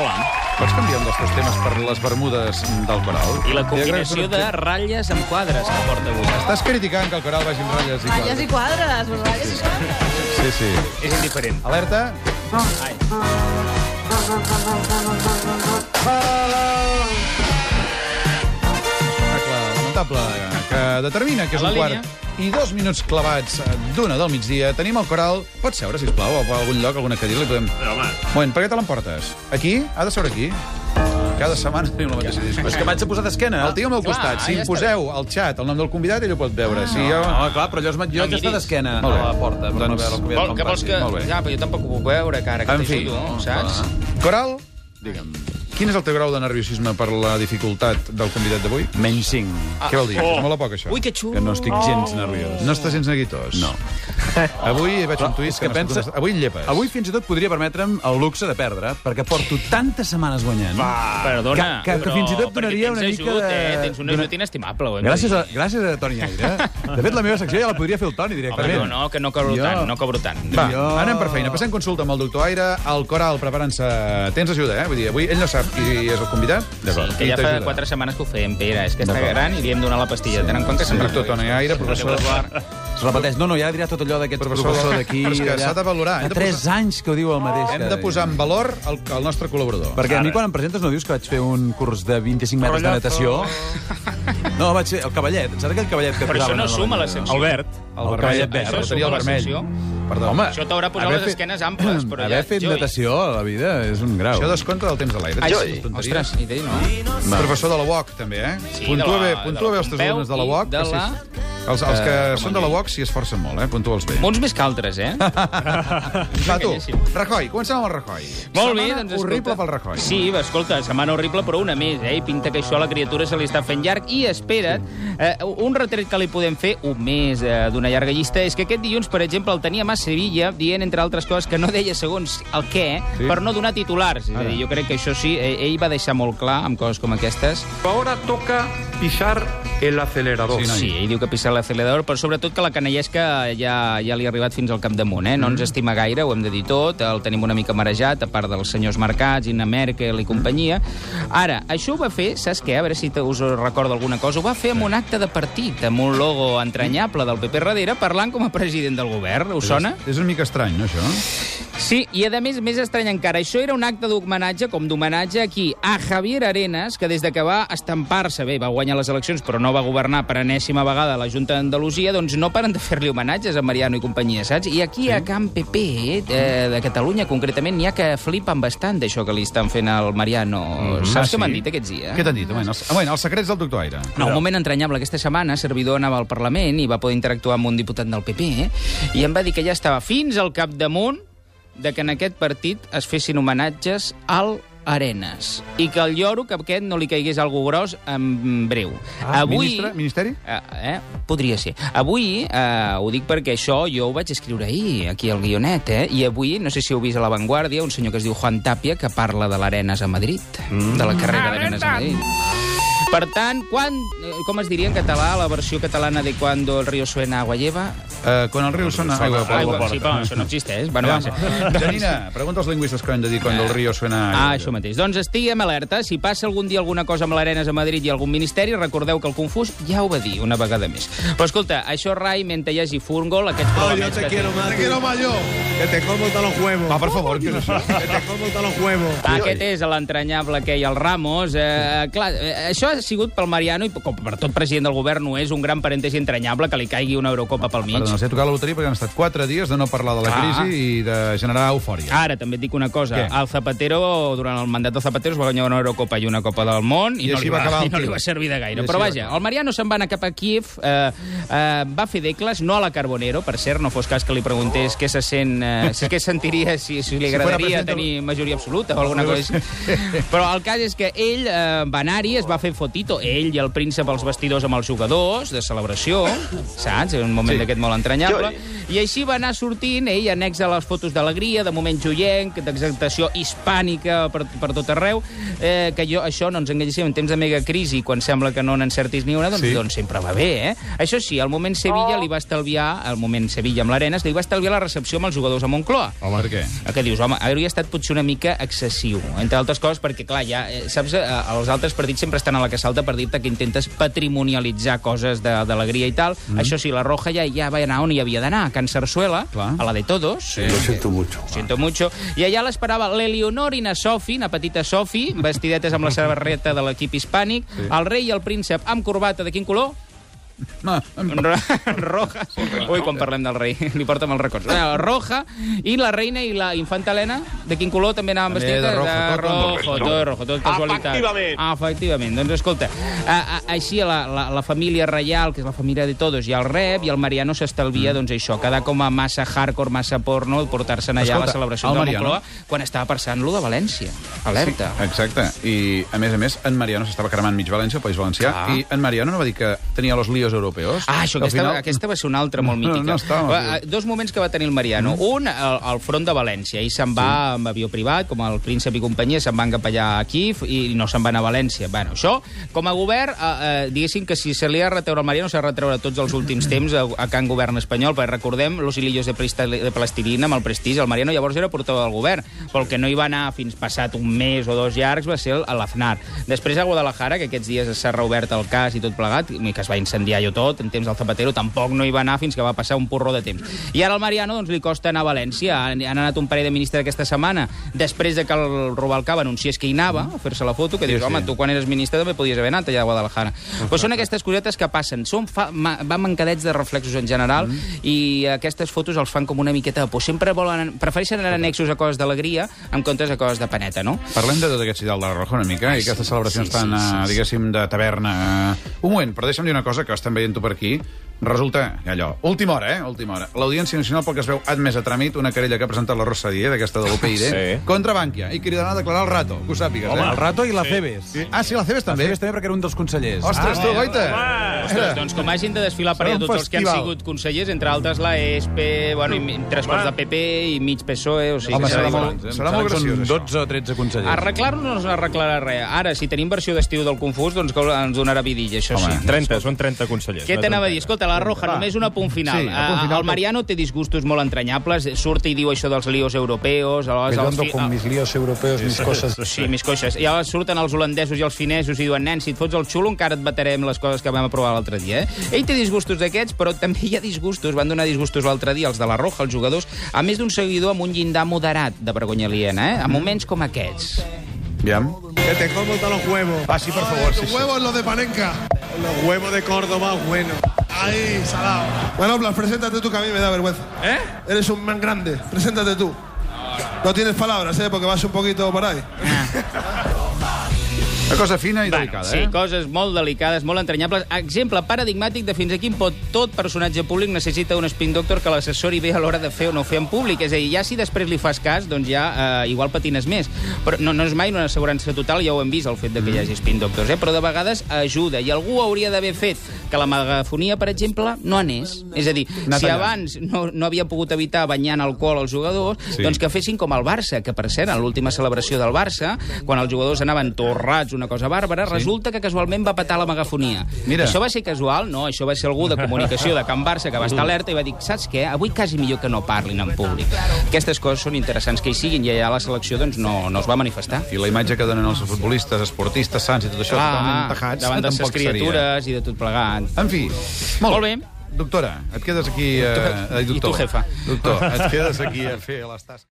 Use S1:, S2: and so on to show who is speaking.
S1: Hola.
S2: Pots canviar un dels teus temes per les Bermudes del Coral?
S1: I la
S2: T'hi agraeixo
S1: combinació de
S2: una-
S1: ratlles amb quadres que porta avui.
S2: Estàs criticant que el Coral vagi amb ratlles i
S3: Ratlles i quadres, les ratlles i quadres.
S2: Sí, sí.
S1: És indiferent.
S2: Alerta.
S1: Ai.
S2: Ah, clar, lamentable, que determina que és
S1: A la
S2: un
S1: línia.
S2: quart i dos minuts clavats d'una del migdia. Tenim el Coral. Pots seure, sisplau, a algun lloc, a alguna cadira? Li podem...
S4: Però, home,
S2: Moment, per què te l'emportes? Aquí? Ha de seure aquí? Cada setmana diu la mateixa discussió.
S4: és que m'haig de posar d'esquena.
S2: El tinc al meu
S1: Clar,
S2: costat. Si
S1: ja
S2: em
S1: està
S2: poseu al xat el nom del convidat, ell ho pot veure. si jo...
S4: Ah, No, clar, però llavors jo
S1: No
S4: haig d'estar
S1: miris.
S4: d'esquena a
S2: Molt bé.
S4: la porta per no
S2: Doncs-
S4: veure el convidat
S1: Vol, que vols que...
S2: Molt bé.
S1: Ja, però jo tampoc ho puc veure, cara, que
S2: En fi,
S1: t'ajudo, saps?
S2: Coral, digue'm, quin és el teu grau de nerviosisme per la dificultat del convidat d'avui? Ah,
S4: Menys 5,
S2: Què vol dir? És molt a poc, això.
S1: Oh. Ui, que xulo.
S4: que no estic gens nerviós.
S2: No estàs gens neguitós?
S4: No.
S2: Avui veig un
S4: Però
S2: tuit
S4: és que
S2: que, no estic
S4: pensa-
S2: contestant. Avui et llepes.
S4: Avui fins i tot podria permetre'm el luxe de perdre, perquè porto tantes setmanes guanyant.
S1: Ah.
S4: Va.
S1: Perdona,
S4: Que- que- que fins i tot donaria una mica
S1: Ajut,
S4: de-
S1: eh? Tens un
S4: d'una-
S1: ajut inestimable, eh? ho hem de
S4: Gràcies
S1: dir.
S4: a, gràcies a Toni Aire. De fet, la meva secció ja la podria fer el Toni
S1: Home,
S4: directament.
S1: no, no, que no cobro
S4: Jo-
S1: tant, no cobro tant.
S2: Va,
S4: Jo-
S2: anem per feina. Passem consulta amb el doctor Aire, el Coral preparant-se... Tens ajuda, eh? Vull dir, avui ell no sap qui és el convidat.
S1: Sí, que
S2: Ell
S1: ja fa
S2: t'ajuda.
S1: quatre setmanes que ho feien, Pere. És que està gran i li hem donat la pastilla. Sí, Tenen en compte que
S2: Sí,
S1: se'n
S2: doctor
S1: recull.
S4: eh?
S2: Toni Aire, professor...
S4: Es repeteix. No, no, ja dirà tot allò d'aquest
S2: Professor-
S4: professor, d'aquí...
S2: Però és que
S4: d'allà.
S2: s'ha de valorar, hem
S4: Fa
S2: de
S4: tres
S2: posar-
S4: anys que ho diu el mateix.
S2: Hem
S4: cada
S2: de
S4: dia.
S2: posar en valor el, el nostre col·laborador.
S4: Perquè a mi quan em presentes no dius que vaig fer un curs de 25 metres de natació? No, vaig fer el cavallet. Saps aquell cavallet que
S1: Però això
S4: posaven
S1: no
S4: a la
S1: suma la
S4: bandera?
S1: secció. Albert.
S4: El cavallet verd.
S2: Tenia
S1: Això suma
S2: el
S1: la
S2: vermell.
S1: secció.
S2: Perdó.
S4: Home,
S1: Això t'haurà posat
S4: haver
S1: les
S4: fet-
S1: escenes amples, però
S4: haver
S1: ja-
S4: fet
S1: Joey.
S4: natació a la vida és un grau.
S2: Això descompte del temps de l'aire.
S1: Ai,
S2: Aquestes tonteries.
S1: ostres, ni idea, no?
S2: Va. Professor de la UOC, també, eh?
S1: Sí,
S2: puntua
S1: de la-
S2: bé,
S1: de
S2: puntua
S1: la
S2: bé els teus
S1: Pompeu
S2: alumnes de la
S1: i
S2: UOC.
S1: de
S2: que
S1: la- Eh,
S2: sí. Els, els que són de la UOC s'hi esforcen molt, eh? Puntua'ls bé.
S1: Uns més que altres, eh?
S2: Va, tu,
S1: Bellíssim.
S2: Rajoy, comencem amb el Rajoy.
S1: Molt bé,
S2: Setmana
S1: doncs
S2: horrible
S1: escolta.
S2: pel Rajoy.
S1: Sí, va, escolta, setmana horrible, però una més, eh? I pinta que això a la criatura se li està fent llarg. I espera't, eh, un retret que li podem fer, un més eh, d'una llarga llista, és que aquest dilluns, per exemple, el tenia Mas Sevilla dient, entre altres coses, que no deia segons el què,
S2: Sí.
S1: sí. per no donar titulars. És a dir, jo crec que això sí, eh, ell va deixar molt clar, amb coses com aquestes,
S5: Ahora toca pisar el acelerador.
S2: Sí,
S1: Sí, ell diu que pisa l'acelerador, però sobretot que la canellesca ja, ja li ha arribat fins al capdamunt, eh? No ens estima gaire, ho hem de dir tot, el tenim una mica marejat, a part dels senyors mercats, Inna Merkel i companyia. Ara, això ho va fer, saps què? A veure si te- us recordo alguna cosa. Ho va fer amb un acte de partit, amb un logo entranyable del PP darrere, parlant com a president del govern. Us sona?
S2: És una mica estrany, no, això?
S1: Sí, i a més, més estrany encara, això era un acte d'homenatge, com d'homenatge aquí, a Javier Arenas, que des de que va estampar-se, bé, va guanyar les eleccions, però no va governar per enèsima vegada a la Junta d'Andalusia, doncs no paren de fer-li homenatges a Mariano i companyia, saps? I aquí a Camp PP, eh, de- de Catalunya concretament, n'hi ha que flipen bastant d'això que li estan fent al Mariano.
S2: Mm-hmm.
S1: saps què m'han dit aquests dies?
S2: Ah, Què t'han dit? Bueno, els, bueno, els secrets del doctor Aire.
S1: No, un moment entranyable. Aquesta setmana, Servidor anava al Parlament i va poder interactuar amb un diputat del PP eh? i em va dir que ja estava fins al capdamunt de que en aquest partit es fessin homenatges al Arenas i que el lloro que aquest no li caigués algú gros en breu.
S2: Ah, ministre, ministeri?
S1: Eh, eh? Podria ser. Avui, eh, ho dic perquè això jo ho vaig escriure ahir, aquí al guionet, eh? i avui, no sé si heu vist a La Vanguardia, un senyor que es diu Juan Tapia, que parla de l'Arenas a Madrid, mm. de la carrera d'Arenas a Madrid. Per tant, quan, eh, com es diria en català la versió catalana de Cuando el río suena agua lleva?
S2: Eh, quan el riu sona... Aigua, per la
S1: Aigua,
S2: porta.
S1: sí, però això no existeix. Bueno,
S2: Aviam,
S1: va,
S2: Janina, pregunta als lingüistes què han de dir quan el riu suena...
S1: Ah, això mateix. Doncs estiguem alerta. Si passa algun dia alguna cosa amb l'Arenas a Madrid i algun ministeri, recordeu que el confús ja ho va dir una vegada més. Però escolta, això, Rai, mentre hi hagi furgol, aquests problemes que té-
S6: Oh, Te quiero más yo. Que te como todos los huevos.
S2: Va, per favor, què és això?
S6: Que te como todos los huevos.
S1: Aquest és l'entranyable que hi ha el Ramos. Eh, clar, eh, això ha sigut pel Mariano i com per tot president del govern no és un gran parèntesi entranyable que li caigui una Eurocopa pel mig.
S2: Perdona, s'hi ha tocat la loteria perquè han estat 4 dies de no parlar de la
S1: Ah.
S2: crisi i de generar eufòria.
S1: Ara, també et dic una cosa.
S2: Què?
S1: El Zapatero, durant el mandat de Zapatero, es va guanyar una Eurocopa i una Copa del Món i,
S2: I
S1: no,
S2: així
S1: li
S2: va
S1: va,
S2: acabar el
S1: i no li
S2: tio.
S1: va servir de gaire.
S2: I
S1: Però
S2: així va
S1: vaja,
S2: acabar.
S1: el Mariano se'n va anar cap a Kiev, eh, eh, va fer decles, no a la Carbonero, per cert, no fos cas que li preguntés què se sent, eh, si- què sentiria si, si li
S2: fuera
S1: agradaria
S2: presidente-
S1: tenir majoria absoluta o alguna cosa així. Però el cas és que ell eh, va anar-hi, es va fer fotito, ell i el príncep als vestidors amb els jugadors, de celebració, saps? En un moment d'aquest molt entranyable. I així va anar sortint, ell annex a les fotos d'alegria, de moment joienc, d'exaltació hispànica per, per tot arreu, eh, que jo, això, no ens enganyéssim, en temps de mega crisi, quan sembla que no n'encertis ni una, doncs,
S4: Sí.
S1: sí. doncs sempre va bé, eh? Això sí, al moment Sevilla li va estalviar, al moment Sevilla amb l'Arenas, li va estalviar la recepció amb els jugadors a Moncloa.
S2: Home, per què?
S1: El que dius, home, hauria estat potser una mica excessiu, entre altres coses, perquè, clar, ja, eh, saps, eh, els altres partits sempre estan a la que salta per dir-te que intentes patrimonialitzar coses de- d'alegria i tal. Mm. Això sí, la Roja ja, ja va anar on hi havia d'anar, a Can Sarsuela,
S2: Clar.
S1: a la de Todos. Sí.
S7: Lo siento mucho.
S1: Siento mucho. I allà l'esperava l'Eleonor i na Sofi, na petita Sofi, vestidetes amb la sabarreta de l'equip hispànic, sí. el rei i el príncep amb corbata de quin color?
S2: Ma,
S1: Ro- Roja. Ui, quan parlem del rei, li porta els records. Bueno, roja, i la reina i la infanta Helena, de quin color també anaven
S2: També de
S1: vestides?
S2: rojo, tot amb
S1: rojo, tot, de rojo, tot casualitat. Efectivament. Ah, efectivament. Doncs escolta, a, a, així la, la, la família reial, que és la família de todos, i el rep, i el Mariano s'estalvia,
S2: Mm.
S1: doncs això, quedar com a massa hardcore, massa porno, i portar-se'n allà a
S2: Escolta,
S1: la celebració
S2: el
S1: de la
S2: Mariano.
S1: Moncloa, quan estava passant-lo de València. Alerta.
S2: Exacte. I, a més a més, en Mariano s'estava cremant mig València, el País Valencià,
S1: Clar.
S2: i en Mariano no va dir que tenia los líos europeos.
S1: Ah, això,
S2: Al
S1: aquesta, final... aquesta va ser una altra molt
S2: No,
S1: mítica.
S2: no estava,
S1: Va,
S2: sí.
S1: eh, Dos moments que va tenir el Mariano. Mm. Un, al, al front de València. Ell se'n va sí. amb avió privat, com el príncep i companyia, se'n van cap allà a Kiev i no se'n van a València. Bueno, això, com a govern, eh, eh, diguéssim que si se li ha de retreure al Mariano, s'ha de retreure tots els últims temps a, a Can Govern espanyol, perquè recordem los hilillos de, prista- de plastilina amb el prestigi. El Mariano llavors era portador del govern, però el que no hi va anar fins passat un mes o dos llargs va ser el- l'Aznar. Després a Guadalajara, que aquests dies s'ha reobert el cas i tot plegat, i que es va incendiar jo tot, en temps del Zapatero tampoc no hi va anar fins que va passar un porró de temps. I ara al Mariano doncs, li costa anar a València. Han, han anat un parell de ministres aquesta setmana, després de que el Rubalcaba anunciés que hi anava, a fer-se la foto, que
S2: Sí,
S1: dius,
S2: sí.
S1: home, tu quan eres ministre també podies haver anat allà a Guadalajara. Però són aquestes cosetes que passen. Són fa, ma, van mancadets de reflexos en general mm. i aquestes fotos els fan com una miqueta de por. Sempre volen, prefereixen anar annexos a coses d'alegria en comptes a coses de paneta, no?
S2: Parlem de tot aquest ideal de la Roja una mica, i aquestes celebracions
S1: sí,
S2: tan,
S1: sí,
S2: eh,
S1: sí.
S2: diguéssim, de taverna... Un moment, però deixa'm dir una cosa, que estem veient tu per aquí. Resulta, que allò, última hora, eh? Última hora. L'Audiència Nacional, pel que es veu, ha admès a tràmit una querella que ha presentat la Rosa Dié, d'aquesta de l'UPyD,
S4: Sí.
S2: contra Bànquia, i cridaran a declarar el rato, que ho sàpigues,
S4: Home, el
S2: eh?
S4: Rato i la Febes.
S2: Ah, sí, la Cebes
S4: La
S2: també?
S4: Febes també perquè era un dels consellers.
S1: Ah,
S2: Ostres, tu, goita!
S1: Ostres, doncs com hagin de desfilar per
S2: Serà
S1: allà
S2: un
S1: tots els que han
S2: festival.
S1: sigut consellers, entre altres la ESP, bueno, i mi- tres quarts de PP i mig PSOE, o sigui...
S2: Home,
S1: que serà
S2: serà
S1: diferent.
S2: molt- serà molt graciós,
S4: Són
S2: això.
S4: 12 o 13 consellers.
S1: Arreglar-ho no ens arreglarà res. Ara, si tenim versió d'estiu del Confús, doncs que ens donarà vidilla, això Home, sí.
S8: 30, són 30 consellers.
S1: Què
S8: no és
S1: t'anava a dir?
S8: un-
S1: Escolta, la Roja, només un apunt final.
S2: Sí, apunt final,
S1: Eh, el
S2: però-
S1: Mariano té disgustos molt entranyables, surt i diu això dels líos europeus... aleshores els fi- el-
S7: líos europeos, mis cosas.
S1: Sí, mis coixes. I ara surten els holandesos i els finesos i diuen, nen, si et fots el xulo encara et batarem les coses que vam aprovar l'altre dia, eh? Ell té disgustos d'aquests, però també hi ha disgustos. Van donar disgustos l'altre dia, els de la Roja, els jugadors, a més d'un seguidor amb un llindar moderat de vergonya aliena, eh? A moments com aquests.
S2: Aviam.
S6: Que te como todos los huevos.
S2: Passi, per favor, sí,
S9: Los
S2: sí.
S9: huevos, los de Panenka.
S6: Los huevos de Córdoba, bueno.
S9: Ahí, salado. Bueno, Blas, preséntate tú, que a mí me da vergüenza. ¿Eh? Eres un man grande. Preséntate tú. No tienes palabras, ¿eh? Porque vas un poquito por ahí.
S2: Una cosa fina i
S1: Bueno,
S2: delicada,
S1: sí,
S2: eh?
S1: coses molt delicades, molt entranyables. Exemple paradigmàtic de fins a quin pot tot personatge públic necessita un spin doctor que l'assessori bé a l'hora de fer o no fer en públic. És a dir, ja si després li fas cas, doncs ja eh, igual patines més. Però no, no és mai una assegurança total, ja ho hem vist, el fet de que hi
S2: Mm.
S1: hagi spin doctors, eh? però de vegades ajuda. I algú hauria d'haver fet que la megafonia, per exemple, no anés. És a dir,
S2: Anar
S1: si
S2: tallant.
S1: abans no, no havia pogut evitar banyant alcohol als jugadors,
S2: Sí.
S1: sí. doncs que fessin com el Barça, que per cert, en l'última celebració del Barça, quan els jugadors anaven torrats, una cosa bàrbara, sí. resulta que casualment va petar la megafonia.
S2: Mira.
S1: Això va ser casual? No, això va ser algú de comunicació de Can Barça que va estar alerta i va dir, saps què? Avui quasi millor que no parlin en públic. Aquestes coses són interessants que hi siguin i allà la selecció doncs, no, no es va manifestar.
S2: I la imatge que donen els futbolistes, esportistes, sants i tot això, totalment tajats,
S1: Ah, davant de ses
S2: tampoc seria.
S1: criatures i de tot plegat.
S2: En fi, molt,
S1: Molt bé.
S2: Doctora, et quedes aquí... Eh,
S1: Doctora,
S2: eh,
S1: i tu,
S2: doctor.
S1: jefa.
S2: Doctor, et quedes aquí a fer les tasques.